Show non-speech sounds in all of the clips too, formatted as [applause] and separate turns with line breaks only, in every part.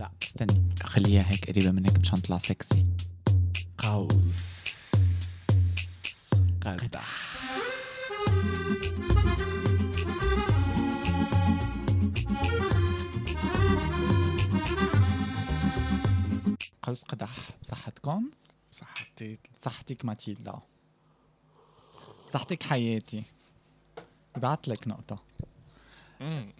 لا استني خليها هيك قريبة منك مشان تطلع سكسي قوس قدح قوس قدح بصحتكم
صحتي
صحتك ماتيلدا صحتك حياتي بعت لك نقطة
مم.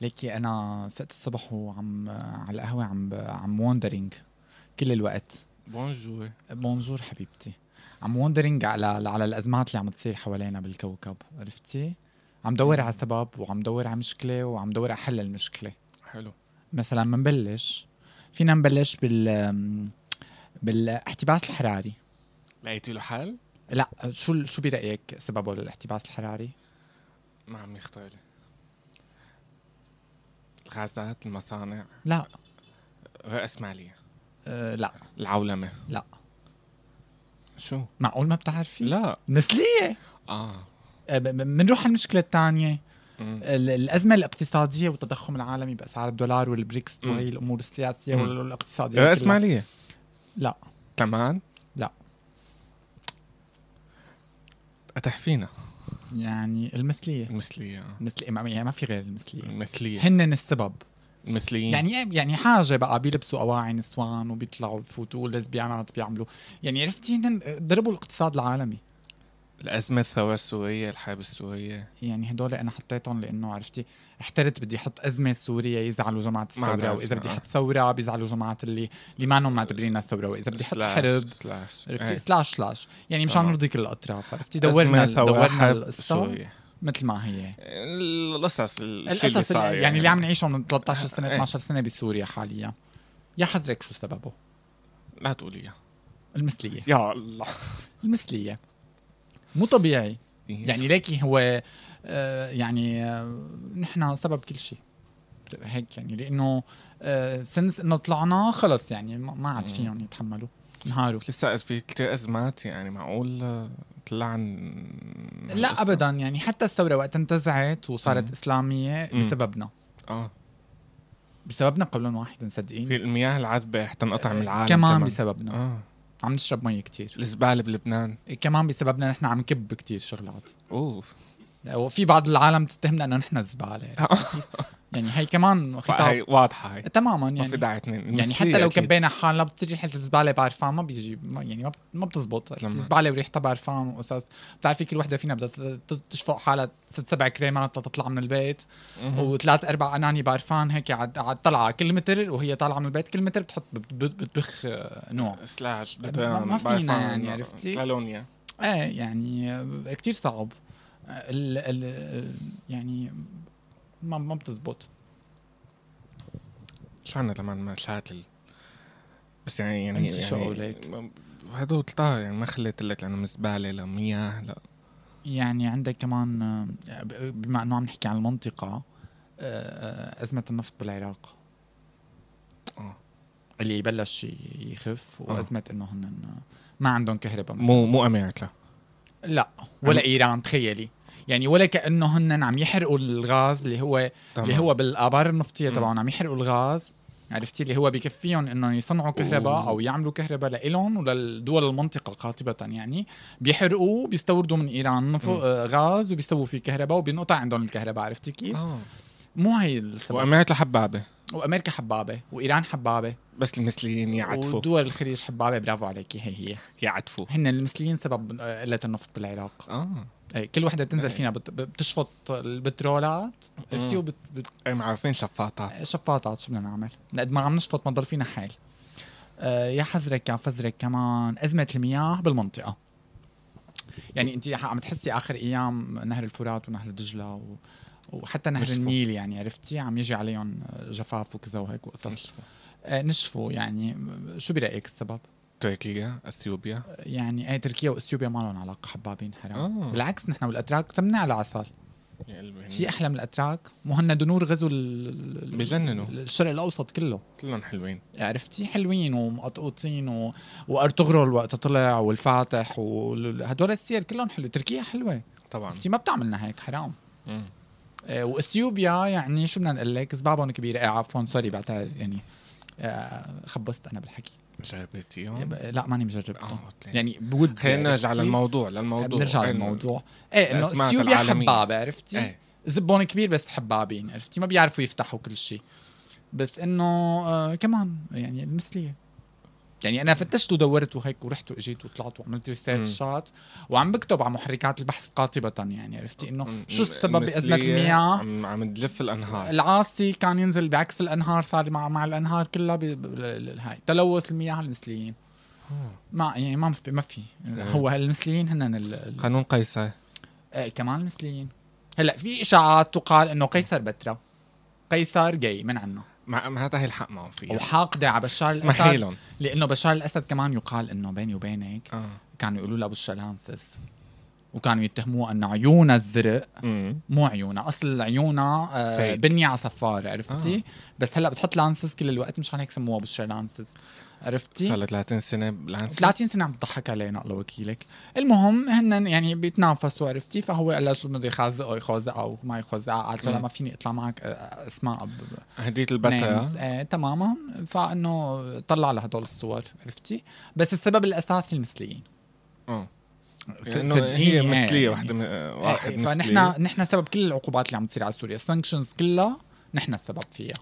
ليكي انا فقت الصبح وعم على القهوة عم ب- عم وندرينج كل الوقت
بونجور
بونجور حبيبتي عم وندرينج على على الازمات اللي عم تصير حوالينا بالكوكب عرفتي عم دور على سبب وعم دور على مشكله وعم دور على حل المشكله
حلو
مثلا منبلش فينا نبلش بال بالاحتباس الحراري
لقيتي له حل؟
لا شو شو برايك سببه للاحتباس الحراري
ما عم يختار لي الغازات المصانع
لا
رأس مالية
أه لا
العولمة
لا
شو؟
معقول ما بتعرفي
لا
مثلية آه،
اه
بنروح على المشكلة الثانية
مم.
ال- الأزمة الاقتصادية والتضخم العالمي بأسعار الدولار والبريكس
مم.
وهي الأمور السياسية
مم.
والاقتصادية
رأس
كلها.
مالية
لا
كمان؟
لا.
أتحفينا
يعني المثليه
المثلية آه.
مثل ما يعني ما في غير المثليه
المثلية
هن السبب
المثليين
يعني يعني حاجه بقى بيلبسوا اواعي نسوان وبيطلعوا بفوتوا لزبيانات بيعملوا يعني عرفتي هن ضربوا الاقتصاد العالمي
الأزمة الثورة السورية الحرب السورية
يعني هدول انا حطيتهم لانه عرفتي احترت بدي احط ازمه سوريه يزعلوا جماعه الثوره
بعرف،
واذا بدي
آه.
احط ثوره بيزعلوا جماعه اللي اللي ما نعم معتبرين الثوره واذا بدي احط
سلاش،
حرب
سلاش
عرفتي
إيه.
سلاش سلاش يعني مشان
آه.
نرضي كل الاطراف عرفتي
أزمة،
دورنا
ثورة،
دورنا
حرب
القصه
سورية
مثل ما هي
القصص الشيء اللي
القصص
صاير
اللي يعني اللي عم نعيشه من 13 سنه
إيه.
12 سنه بسوريا حاليا يا حذرك شو سببه
لا تقولي
المثليه
يا الله
المثليه مو طبيعي
إيه.
يعني ليكي هو آه، يعني آه، نحن سبب كل شيء هيك يعني لانه آه، سنس انه طلعنا خلص يعني ما- ما عاد
مم.
فيهم يتحملوا نهاروا
لسه في كثير ازمات يعني معقول آه، تلعن
لا
القصة؟
ابدا يعني حتى الثوره وقت انتزعت وصارت
مم.
اسلاميه
مم.
بسببنا
اه
بسببنا قولا واحدا صدقيني
في المياه العذبه حتنقطع من العالم
آه، كمان
تماما.
بسببنا
اه
عم نشرب مي كتير
الزباله بلبنان
كمان بسببنا نحن عم نكب كتير شغلات [laughs]
اوف [laughs]
وفي بعض العالم تتهمنا انه نحن الزباله يعني هي كمان
هي
خطاب
واضحه هي
تماما
ما في
يعني
داعي اتنين
يعني حتى لو كبينا حالنا بتصير ريحه الزباله بعرفها ما بيجي ما يعني ما بت- ما بتزبط
لما-
الزباله وريحتها بعرفها وقصص بتعرفي كل وحده فينا بدها ت- ت- تشفق حالها ست سبع كريمات لتطلع من البيت وثلاث اربع اناني بعرفان هيك عاد عاد طلعه كل متر وهي طالعه من البيت كل متر بتحط بت- بت- بتبخ آه، نوع
سلاش
ما- ما فينا يعني، عرفتي؟
كالونيا
ايه يعني آه، كتير صعب آه، ال ال يعني ما ما بتزبط
شو عنا لما مشاكل بس يعني يعني
أنت شو قولك؟
هدول طار يعني ما خليت لك لانه من زباله لمياه لا
يعني عندك كمان آه، ب- بما انه عم نحكي عن المنطقه آه، آه، ازمه النفط بالعراق
آه.
اللي بلش ي- يخف
آه.
وازمه انه هن ما عندهم كهرباء مثلا
مو مو امريكا
لا ولا ايران تخيلي يعني ولا كانه هن عم يحرقوا الغاز اللي هو
تمام.
اللي هو بالابار النفطيه
مم.
تبعهم عم يحرقوا الغاز عرفتي اللي هو بكفيهم انه يصنعوا كهرباء
أوه.
او يعملوا كهرباء لإلهم وللدول المنطقه قاطبه يعني بيحرقوا بيستوردوا من ايران نف...
مم.
آه، غاز وبيسووا فيه كهرباء وبينقطع عندهم الكهرباء عرفتي كيف؟
اه
مو هي السبب
وامريكا حبابه
وامريكا حبابه وايران حبابه
بس المثليين يعتفوا
ودول الخليج حبابه برافو عليكي هي هي
يعتفوا
هن المثليين سبب آه، قله النفط بالعراق
اه
إيه، كل وحده بتنزل
إيه.
فينا بت- بتشفط البترولات عرفتي
مم. اي معروفين شفاطات
وشفاطات شو بدنا نعمل؟ قد ما عم نشفط ما ضل فينا حال آه، يا حذرك يا فزرك كمان ازمه المياه بالمنطقه يعني انت عم تحسي اخر ايام نهر الفرات ونهر دجله و... وحتى نهر
نشفوا.
النيل يعني عرفتي عم يجي عليهم جفاف وكذا وهيك وقصص آه، نشفوا يعني شو برايك السبب؟
تركيا اثيوبيا
يعني ايه تركيا واثيوبيا ما لهم علاقه حبابين حرام
آه.
بالعكس نحن والاتراك تمنا على عسل
يا قلبي،
في احلى من الاتراك مهند نور غزو ال- ال-
بجننوا.
الشرق الاوسط كله
كلهم حلوين
عرفتي حلوين ومقطقوطين و... وارطغرل وقت طلع والفاتح وهدول السير كلهم حلو تركيا حلوه
طبعا
عرفتي ما بتعملنا هيك حرام
مم.
آه، واثيوبيا يعني شو بدنا نقول لك زبابهم كبيره آه عفوا سوري بعتذر يعني آه، خبصت انا بالحكي
جابتيهم
لا ماني مجربته
اه اوكي
يعني بود
خلينا نرجع
عرفتي؟
للموضوع للموضوع
بنرجع
إنه-
للموضوع ايه انه
الأسماك
اثيوبيا
العالمية.
حبابه عرفتي؟
ايه
زبون كبير بس حبابين عرفتي ما بيعرفوا يفتحوا كل شيء بس انه آه كمان يعني المثليه يعني انا فتشت ودورت وهيك ورحت واجيت وطلعت وعملت ريسيرشات وعم بكتب على محركات البحث قاطبه يعني عرفتي انه شو السبب بازمه
المثلية
المياه
عم, عم تلف الانهار
العاصي كان ينزل بعكس الانهار صار مع مع الانهار كلها ب... ب... ال- هاي تلوث المياه المثليين
آه.
ما يعني ما في ما في
إيه.
هو المثليين هن ال... ال...
قانون قيصر
آه، كمان مثليين هلا في اشاعات تقال انه قيصر بترا قيصر جاي من عنه
مع ما هذا هي الحق معهم فيها
وحاقده على بشار
اسمحي
الاسد
لهم
لانه بشار الاسد كمان يقال انه بيني وبينك
اه
كانوا يقولوا له بالشلانسس وكانوا يتهموه ان عيونا الزرق
أمم.
مو عيونا اصل عيونا آه
Fake.
بنيه على صفار عرفتي بس هلا بتحط لانسز كل الوقت مشان هيك سموها بالشلانسس عرفتي
صار لها 30 سنه بلانس
30 سنه عم تضحك علينا الله وكيلك المهم هن يعني بيتنافسوا عرفتي فهو قال لها شو بده يخزقه يخزقه او ما يخزقه قالت له لا
مم.
ما فيني اطلع معك آه، آه، اسماء ب-
هديت
names.
البتا
آه تماما فانه طلع له هدول الصور عرفتي بس السبب الاساسي المثليين
اه
ف-
لانه
صدقيني،
هي
آه،
مثليه
يعني.
وحده من- آه، واحد
آه،
مثلي
فنحن نحن سبب كل العقوبات اللي عم تصير على سوريا السانكشنز كلها نحن السبب فيها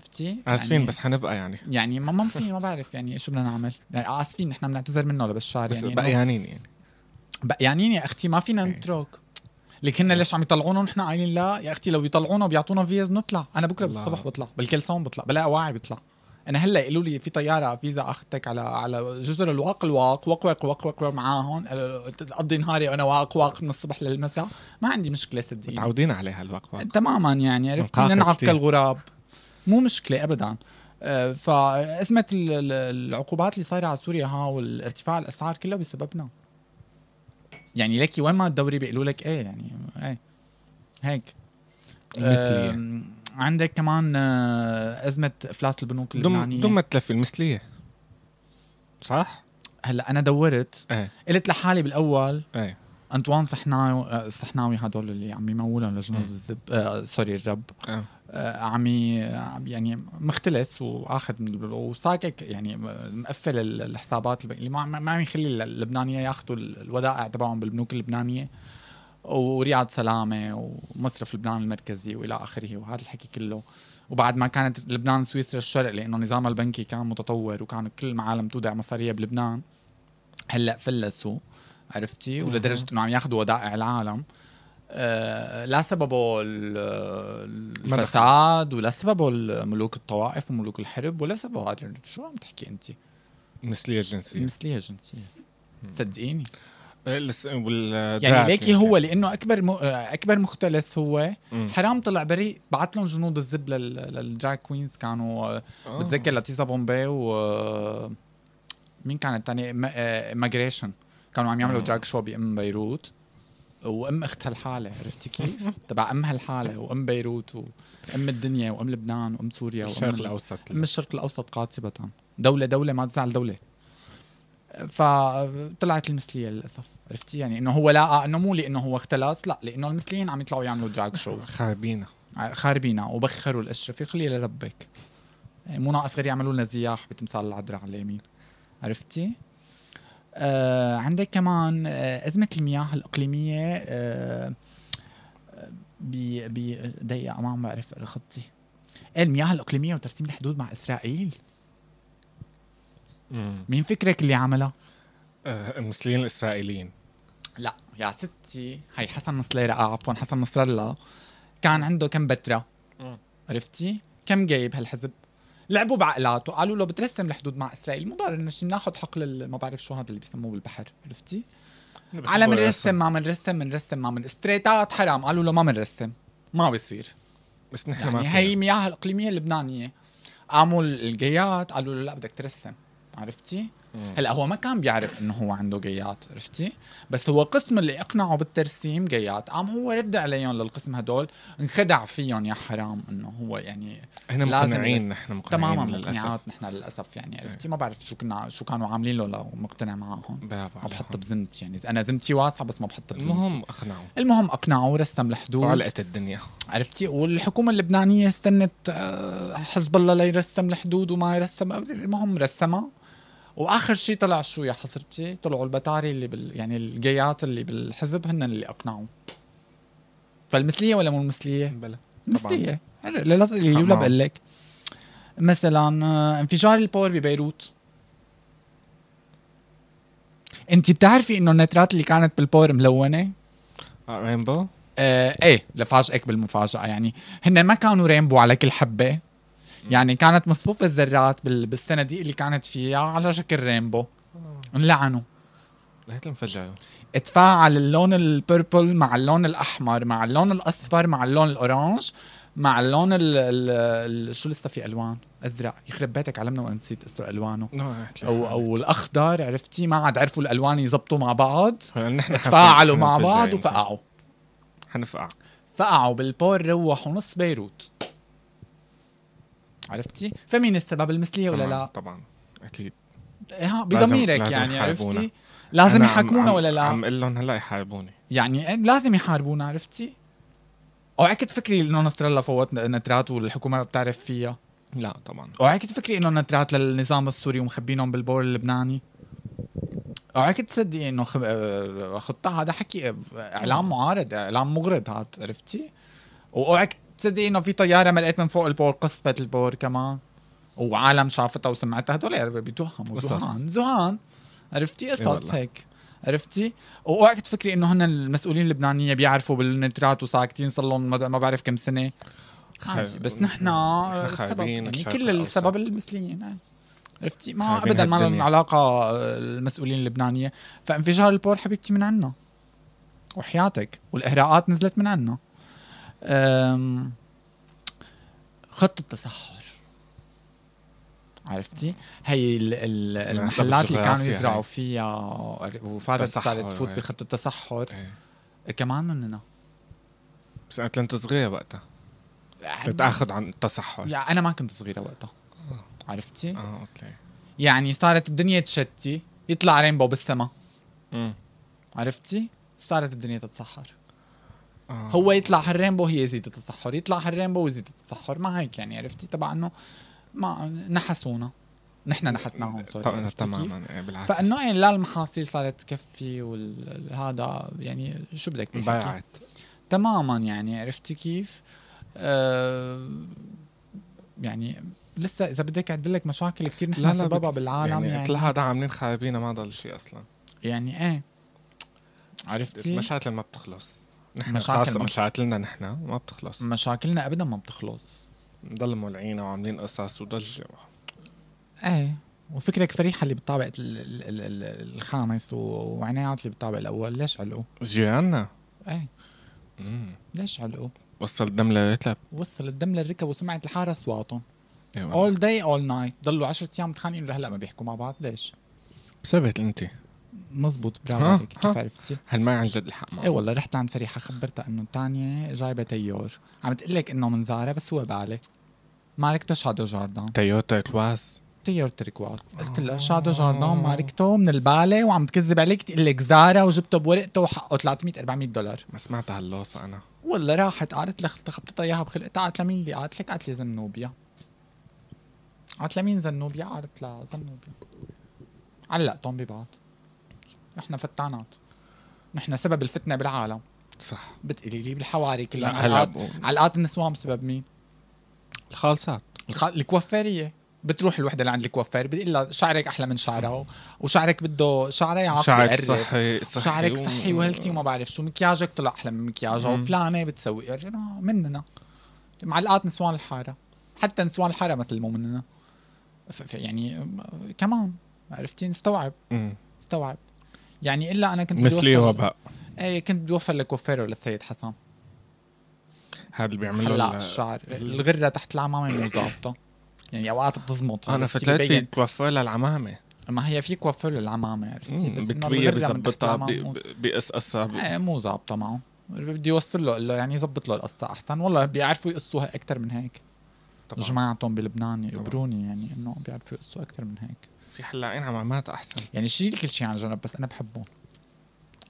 عرفتي؟
اسفين
يعني-
بس حنبقى يعني
يعني ما ما في ما بعرف يعني شو بدنا نعمل يعني اسفين نحن بنعتذر منه لبشار
بس
يعني
بقى
إنه-
يعنين يعني
بق- يعني يا اختي ما فينا
إيه.
نترك لك هن ليش عم يطلعونا ونحن قايلين لا يا اختي لو بيطلعونا وبيعطونا فيز بنطلع انا بكره
الله.
بالصبح بطلع بالكلسون بطلع بلا واعي بطلع انا هلا قالوا لي في طياره فيزا اخذتك على على جزر الواق الواق وق وق وق وق, وق معاهم قالوا اقضي نهاري وانا واق واق من الصبح للمساء ما عندي مشكله صدقيني
متعودين عليها الوقفه
تماما يعني عرفت
منقاطع
ننعق
كتير.
كالغراب مو مشكله ابدا آه، فازمه ال- ال- العقوبات اللي صايره على سوريا ها والارتفاع الاسعار كله بسببنا يعني لك وين ما الدوري بيقولوا لك ايه يعني ايه هيك آه،
المثليه
آم، عندك كمان آه، ازمه افلاس البنوك
دم
اللبنانيه
دم ما تلفي المثليه صح؟
هلا انا دورت
ايه
قلت لحالي بالاول
ايه
انطوان صحناوي آه، الصحناوي هدول اللي عم يمولهم لجنود
مم.
الزب آه سوري الرب
آه.
آه عم ي- عم يعني مختلس واخذ من البلو- وساكك يعني مقفل ال- الحسابات الب- اللي ما ما- ما عم يخلي الل- اللبنانيه ياخذوا ال- الودائع تبعهم بالبنوك اللبنانيه ورياض سلامه ومصرف لبنان المركزي والى اخره وهذا الحكي كله وبعد ما كانت لبنان سويسرا الشرق لانه نظامها البنكي كان متطور وكان كل العالم تودع مصاريه بلبنان هلا فلسوا عرفتي
مهم.
ولدرجه انه عم ياخذوا ودائع العالم آه، لا سببه ال-
مدخل.
الفساد ولا سببه ال- ملوك الطوائف وملوك الحرب ولا سببه هذا يعني شو عم تحكي انت؟
مثليه جنسيه
مثليه جنسيه
مم.
صدقيني
إيه، لس- وال-
يعني
دراعك
ليكي هو لانه اكبر م... آه، اكبر مختلس هو
مم.
حرام طلع بريء بعت لهم جنود الزب لل... للدراك كوينز كانوا آه،
آه.
بتذكر لاتيزا بومبي و آه، مين كان الثاني ماجريشن كانوا عم يعملوا
آه.
دراج شو بام بيروت وام اختها الحاله عرفتي
[laughs]
كيف؟ تبع امها الحاله وام بيروت وام الدنيا وام لبنان وام سوريا
الشرق
وام
الاوسط
ام الشرق الاوسط قاطبه دوله دوله ما تزعل دوله فطلعت المثليه للاسف عرفتي يعني انه هو لا انه مو لانه هو اختلس لا لانه المثليين عم يطلعوا يعملوا
[laughs]
دراج شو
خربينا
خاربينا وبخروا الاشرفه خلي لربك مو ناقص غير يعملوا لنا زياح بتمثال العذراء على اليمين عرفتي؟ آه عندك كمان آه ازمه المياه الاقليميه آه ب ب دقيقه ما عم بعرف أقرأ خطي إيه المياه الاقليميه وترسيم الحدود مع اسرائيل
مم.
مين فكرك اللي عملها؟
آه، المثليين الاسرائيليين
لا يا ستي هي حسن نصليرة آه عفوا حسن نصر الله كان عنده كم بترة
مم.
عرفتي؟ كم جايب هالحزب؟ لعبوا بعقلاته قالوا له بترسم الحدود مع اسرائيل مو ضرر نشي ناخذ حقل ما بعرف شو هذا اللي بسموه بالبحر عرفتي؟ على منرسم ما منرسم منرسم ما من استريتات حرام قالوا له ما منرسم ما بيصير
بس نحن ما
يعني
فينا.
هي مياه الاقليميه اللبنانيه قاموا الجيات قالوا له لا بدك ترسم عرفتي هلا هو ما كان بيعرف انه هو عنده جيات عرفتي بس هو قسم اللي اقنعه بالترسيم جيات قام هو رد عليهم للقسم هدول انخدع فيهم يا حرام انه هو يعني
احنا
لازم
مقتنعين
بس-
نحن مقتنعين
تماما
للاسف
مقنعات نحن للاسف يعني عرفتي ما بعرف شو كنا شو كانوا عاملين له لو مقتنع معهم
برافو
ما بحط
عليكم.
بزمت يعني انا زمتي واسعه بس ما بحط بزمتي المهم
المهم اقنعوا
المهم اقنعه رسم الحدود
وعلقت الدنيا
عرفتي والحكومه اللبنانيه استنت آه، حزب الله ليرسم الحدود وما يرسم المهم رسمها واخر شيء طلع شو يا حصرتي طلعوا البتاري اللي بال يعني الجيات اللي بالحزب هن اللي اقنعوا فالمثليه ولا مو المثليه؟
بلا
مثليه حلو، لا لا اللي ولا
معه.
بقول لك مثلا آه، انفجار الباور ببيروت انت بتعرفي انه النترات اللي كانت بالباور ملونه؟
رينبو
آه ايه لفاجئك بالمفاجأة يعني هن ما كانوا رينبو على كل حبة يعني كانت مصفوفة الذرات بال- بالصناديق اللي كانت فيها على شكل رينبو انلعنوا
لهيك انفجروا
اتفاعل اللون البيربل مع اللون الاحمر مع اللون الاصفر مع اللون الاورانج مع اللون ال ال ال شو لسه في الوان ازرق يخرب بيتك علمنا وانا نسيت اسوء الوانه او او الاخضر عرفتي ما عاد عرفوا الالوان يزبطوا مع بعض
نحن
تفاعلوا مع بعض وفقعوا
حنفقع
فقعوا بالبور روحوا نص بيروت عرفتي؟ فمين السبب المثلية ولا
طبعاً،
لا؟
طبعا اكيد
إيه ها،
لازم-
بضميرك
لازم
يعني
يحاربونا.
عرفتي؟ لازم
أنا عم-
يحاكمونا
عم-
ولا لا؟
عم اقول لهم هلا يحاربوني
يعني إيه، لازم يحاربونا عرفتي؟ اوعك تفكري انه نصر الله فوت نترات والحكومه ما بتعرف فيها،
لا طبعا
اوعك تفكري انه نترات للنظام السوري ومخبينهم بالبور اللبناني اوعك تصدقي انه خب... آه، خطه هذا حكي آه، اعلام معارض اعلام مغرض هذا عرفتي واوعك تصدقي انه في طياره ملقت من فوق البور قصفت البور كمان وعالم شافتها وسمعتها هدول بيتوهموا
قصص.
زهان زهان عرفتي
إي
قصص
والله.
هيك عرفتي واوعك تفكري انه هن المسؤولين اللبنانيين بيعرفوا بالنترات وساكتين صار لهم ما ما بعرف كم سنه عادي
خايف-
بس نحن
نحن
السبب
خايبين
يعني
الشرق
كل
الأوسط.
السبب المثليين يعني. عرفتي ما
خايبين
ابدا ما لهم
هالدنيا.
علاقه آه، المسؤولين اللبنانيه فانفجار البور حبيبتي من عنا وحياتك والاهراءات نزلت من عنا أم، خط التصحر عرفتي هي ال- ال-
سمعتها
المحلات اللي كانوا
بالجغرافيا
يزرعوا فيها وفاتت صارت
تصحر،
تفوت
إيه.
بخط التصحر
إيه.
كمان مننا
بس انا كنت صغيره وقتها كنت اخذ عن التصحر
يعني انا ما كنت صغيره وقتها عرفتي
اه اوكي
يعني صارت الدنيا تشتي يطلع رينبو بالسما
مم.
عرفتي صارت الدنيا تتصحر
آه.
هو يطلع هالرينبو هي زيت التصحر يطلع هالرينبو وزيت التصحر ما هيك يعني عرفتي تبع انه ما نحسونا نحن نحسناهم سوري
طبعا
عرفتي كيف؟
تماما إيه، بالعكس
فانه يعني لا المحاصيل صارت تكفي وهذا يعني شو بدك بالحكي؟
انباعت
تماما يعني عرفتي كيف؟ آه يعني لسه اذا بدك اعد لك مشاكل كثير نحن
لا، لا،
سببها
بت-
بالعالم
يعني,
يعني
كل هذا عاملين خرابينا ما ضل شيء اصلا
يعني ايه عرفتي
المشاكل ما بتخلص نحن
مشاكل
خاصة
ما-
مشاكلنا نحن ما بتخلص
مشاكلنا ابدا ما بتخلص
نضل مولعينا وعاملين قصص وضجة
ايه وفكرك فريحه اللي بالطابق ال- ال- ال- ال- الخامس و- وعنايات اللي بالطابق الاول ليش علقوا؟
جيراننا
ايه
مم.
ليش علقوا؟
وصل الدم لرتلب
وصل الدم للركب وسمعت الحاره اصواتهم
إيه والله.
اول داي اول نايت ضلوا 10 ايام متخانقين لهلا ما بيحكوا مع بعض ليش؟
بسبت انت
مزبوط برافو
ها،
عليك كيف
ها.
عرفتي؟
هل ما عن جد الحق معه
ايه والله رحت عند فريحه خبرتها انه تانية جايبه تيور عم تقول لك انه من زاره بس هو بالي ماركته شادو جاردان
تويوتا كواس
تيار تركواز قلت لها شادو جاردان ماركته من البالة وعم تكذب عليك تقول لك زارا وجبته بورقته وحقه 300 400 دولار
ما سمعت هاللوصة انا
والله راحت قعدت لخ- خبطتها اياها بخلقتها قالت لمين اللي قالت لك قالت لي زنوبيا قالت لمين زنوبيا قالت لها زنوبيا علقتهم ببعض نحن فتانات نحن سبب الفتنه بالعالم
صح
بتقلي لي بالحواري كلها
لا هلا
علقات,
ب-
علقات النسوان بسبب مين؟
الخالصات
الخ- الكوافيريه بتروح الوحده اللي عند الكوافير بتقول لها شعرك احلى من شعرها وشعرك بده شعرها يعاقب
شعرك
يقرب.
صحي صحي
شعرك
و-
صحي وهيلثي وما بعرف شو مكياجك طلع احلى من مكياجها
مم.
وفلانه بتسوي رجعنا مننا معلقات نسوان الحاره حتى نسوان الحاره ما سلموا مننا ف- ف- يعني آه، كمان عرفتي نستوعب
مم.
استوعب يعني الا انا كنت بدي
مثلي
أوفر-
وباء
ايه كنت بدي اوفر لكوفيرو للسيد حسن
هذا اللي بيعمل
حلاق
له
الشعر الغره تحت العمامه مو ظابطه يعني اوقات بتزمط
انا
عرفتي؟
فتلت لي
ببين.
توفى للعمامة
ما هي في كوافير للعمامه عرفتي
مم،
بس إنه
بكويه
الغرزة من تحت
بظبطها
العمامة
بي- بي- بقصقصها بي-
ايه مو ظابطه معه بدي يوصل له قال له يعني يظبط له القصه احسن والله بيعرفوا يقصوها اكثر من هيك
طبعاً.
جماعتهم بلبنان
طبعاً.
يقبروني يعني انه بيعرفوا يقصوا اكثر من هيك
في حلاقين عمامات احسن
يعني شيل كل شيء عن جنب بس انا بحبهم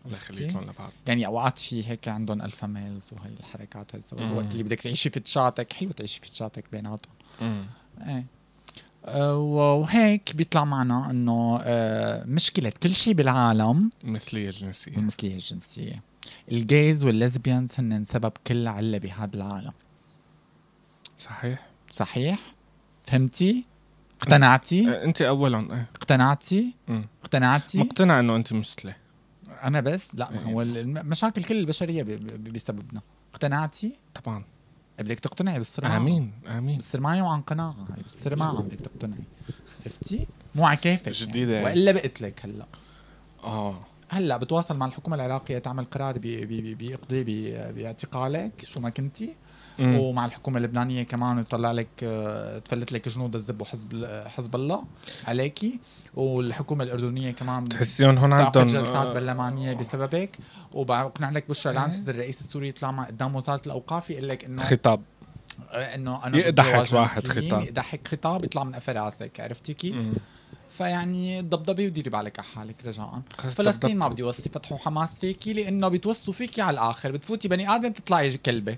الله يخليك لهم لبعض
يعني اوقات في هيك عندهم الفا ميلز وهي الحركات هالزواج
مم.
وقت اللي بدك تعيشي في تشاتك حلو تعيشي في تشاتك بيناتهم
مم.
ايه أه، وهيك بيطلع معنا انه أه، مشكله كل شيء بالعالم
مثلية الجنسية
المثليه الجنسيه الجيز والليزبيانز هن سبب كل عله بهذا العالم
صحيح
صحيح فهمتي اقتنعتي
آه، انت اولهم ايه
اقتنعتي
مم.
اقتنعتي
مقتنع انه انت مثلي
انا بس لا ما
إيه.
هو المشاكل كل البشريه ب- ب- بسببنا اقتنعتي
طبعا
بدك تقتنعي بالصراع
امين امين
بالصرماعي وعن قناعه هي بالصرماعه بدك تقتنعي عرفتي مو على كيفك
جديدة
يعني.
يعني.
والا بقتلك هلا آه.
اه
هلا بتواصل مع الحكومه العراقيه تعمل قرار بي- بي- بي- بيقضي بي- باعتقالك شو ما كنتي
مم.
ومع الحكومه اللبنانيه كمان يطلع لك آه، تفلت لك جنود الذب وحزب آه، حزب الله عليكي والحكومه الاردنيه كمان
تحسيهم هون
تعقد
عندهم
جلسات
آه،
برلمانيه بسببك وبقنع لك بشرى
إيه.
العنسز الرئيس السوري يطلع مع قدام وزاره الاوقاف يقول لك انه
خطاب
آه، انه انا
يقدحك
ضد الواجهة
واحد
المسلمين،
خطاب.
يقدحك خطاب يطلع من قفا راسك عرفتي كيف؟
مم.
فيعني ضبضبي وديري بالك على حالك رجاء
خلص
فلسطين ما
ضبضبت.
بدي وصي فتحوا حماس فيكي لانه بتوصوا فيكي على الاخر بتفوتي بني ادم بتطلعي كلبه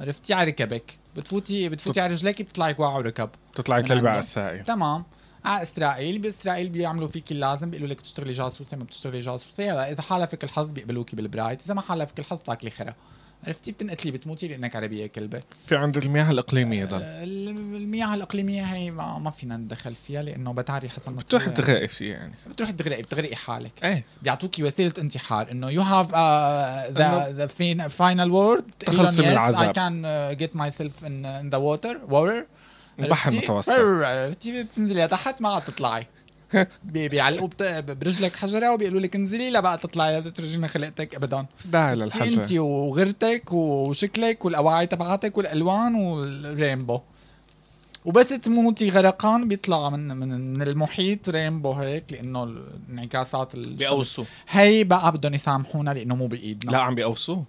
عرفتي على ركبك بتفوتي بتفوتي على رجليك بتطلعي وعي ركب
بتطلعي
من
كلبة
عندهم.
على السائل
تمام على اسرائيل باسرائيل بيعملوا فيك اللازم بيقولوا لك بتشتغلي جاسوسه ما بتشتغلي جاسوسه هلا اذا حالفك الحظ بيقبلوكي بالبرايت اذا ما حالفك الحظ بتاكلي خرا عرفتي بتنقتلي بتموتي لانك عربيه كلبه
في عند المياه الاقليميه ضل
آه، المياه الاقليميه هي ما, ما فينا ندخل فيها لانه بتعري حسن
بتروح
نصير.
تغرقي فيه يعني
بتروحي بتغرقي بتغرقي حالك
ايه
بيعطوكي وسيله انتحار انه يو هاف ذا
إنه
ذا فاينل وورد
تخلصي من العذاب.
اي كان جيت ماي سيلف ان ذا ووتر ووتر
البحر المتوسط
عرفتي بتنزلي لتحت ما عاد تطلعي بي- بيعلقوا بت- برجلك حجره وبيقولوا لك انزلي لا بقى تطلعي لا بترجينا خلقتك ابدا
داعي
انت
للحجر
وغيرتك وشكلك والاواعي تبعتك والالوان والرينبو وبس تموتي غرقان بيطلع من من من المحيط رينبو هيك لانه الانعكاسات الشمس-
بيقوصوا
هي بقى بدهم يسامحونا لانه مو بايدنا
لا عم بيقوصوا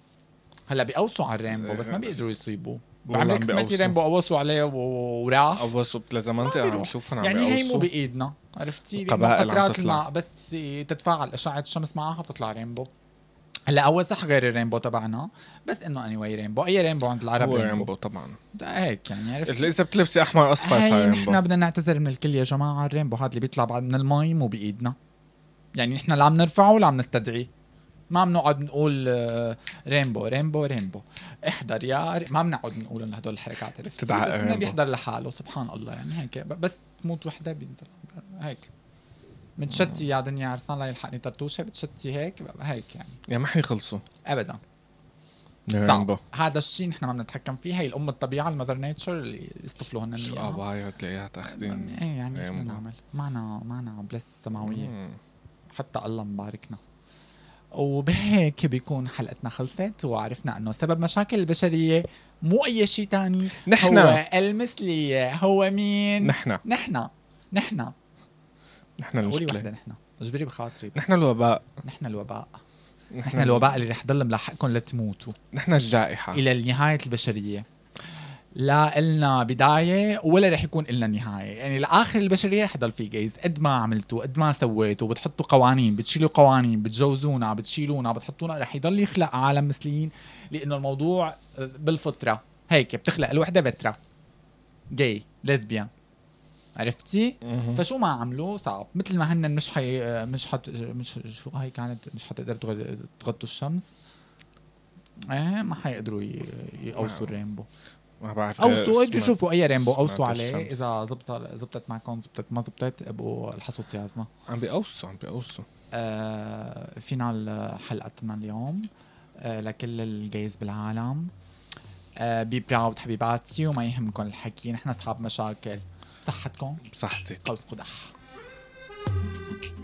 هلا بيقوصوا على الرينبو بس ما بيقدروا يصيبوه
والله
بعمرك
عم
سمعتي
بيقوصوا.
رينبو قوصوا عليه و- وراح
قوصوا لازم
ما
منطقه عم
بيروح.
بشوفهم عم
يعني هي مو
نعم، بيقوصوا
بايدنا عرفتي لأنه
القبائل عم
قطرات
تطلع.
الماء بس تتفاعل اشعه الشمس معها بتطلع رينبو هلا هو صح غير الرينبو تبعنا بس انه اني واي رينبو اي رينبو عند العرب
هو
رينبو,
رينبو طبعا
ده هيك يعني عرفتي
اذا بتلبسي احمر اصفر
هاي
صار
نحن
رينبو
بدنا نعتذر من الكل يا جماعه الرينبو هذا اللي بيطلع بعد من المي مو بايدنا يعني نحن لا عم نرفعه ولا عم نستدعيه ما بنقعد نقول آه، رينبو رينبو رينبو احضر يا ري... ما بنقعد نقول إن هدول الحركات عرفتي بس
بتدعق
ما
رينبو.
بيحضر لحاله سبحان الله يعني هيك ب- بس تموت وحده بينزل هيك متشتي يا دنيا عرسان لا يلحقني ترتوشه بتشتي هيك ب- هيك يعني
يعني ما حيخلصوا
ابدا
من
صعب
رينبو
هذا الشيء نحن ما بنتحكم فيه هي الام الطبيعه المذر نيتشر اللي يصطفلوا هن
شو
إياها.
قبايا تلاقيها تاخدين
ايه يعني شو
أيام
بدنا
الله.
نعمل؟ معنا معنا بلس سماوية حتى الله مباركنا وبهيك بيكون حلقتنا خلصت وعرفنا انه سبب مشاكل البشرية مو اي شيء تاني
نحن
هو المثلية هو مين؟
نحن
نحن نحن
نحن
قولي
المشكله
وحدة نحن اجبري بخاطري
نحن الوباء
نحن الوباء نحن الوباء اللي رح ضل ملاحقكم لتموتوا
نحن الجائحه
الى نهايه البشريه لا إلنا بداية ولا رح يكون إلنا نهاية يعني لآخر البشرية رح يضل في جايز قد ما عملتوا قد ما سويتوا بتحطوا قوانين بتشيلوا قوانين بتجوزونا بتشيلونا بتحطونا رح يضل يخلق عالم مثليين لأنه الموضوع بالفطرة هيك بتخلق الوحدة بترة جاي ليزبيان عرفتي؟
مهم.
فشو ما عملوا صعب مثل ما هن مش حي مش حت مش شو هي كانت مش حتقدر تغ- تغطوا الشمس ايه ما حيقدروا ي- يقوصوا الرينبو
ما بعرف
قوصوا
اسمها.
اجوا شوفوا اي رينبو قوصوا
آه، سمعت
عليه
الشمس.
اذا زبطت زبطت معكم زبطت ما زبطت ابقوا الحصوا تيازنا
عم بيقوصوا عم بيقوصوا
آه فينا حلقتنا اليوم آه لكل الجايز بالعالم آه بي براود حبيباتي وما يهمكم الحكي نحن اصحاب مشاكل صحتكم
بصحتك
قوس قدح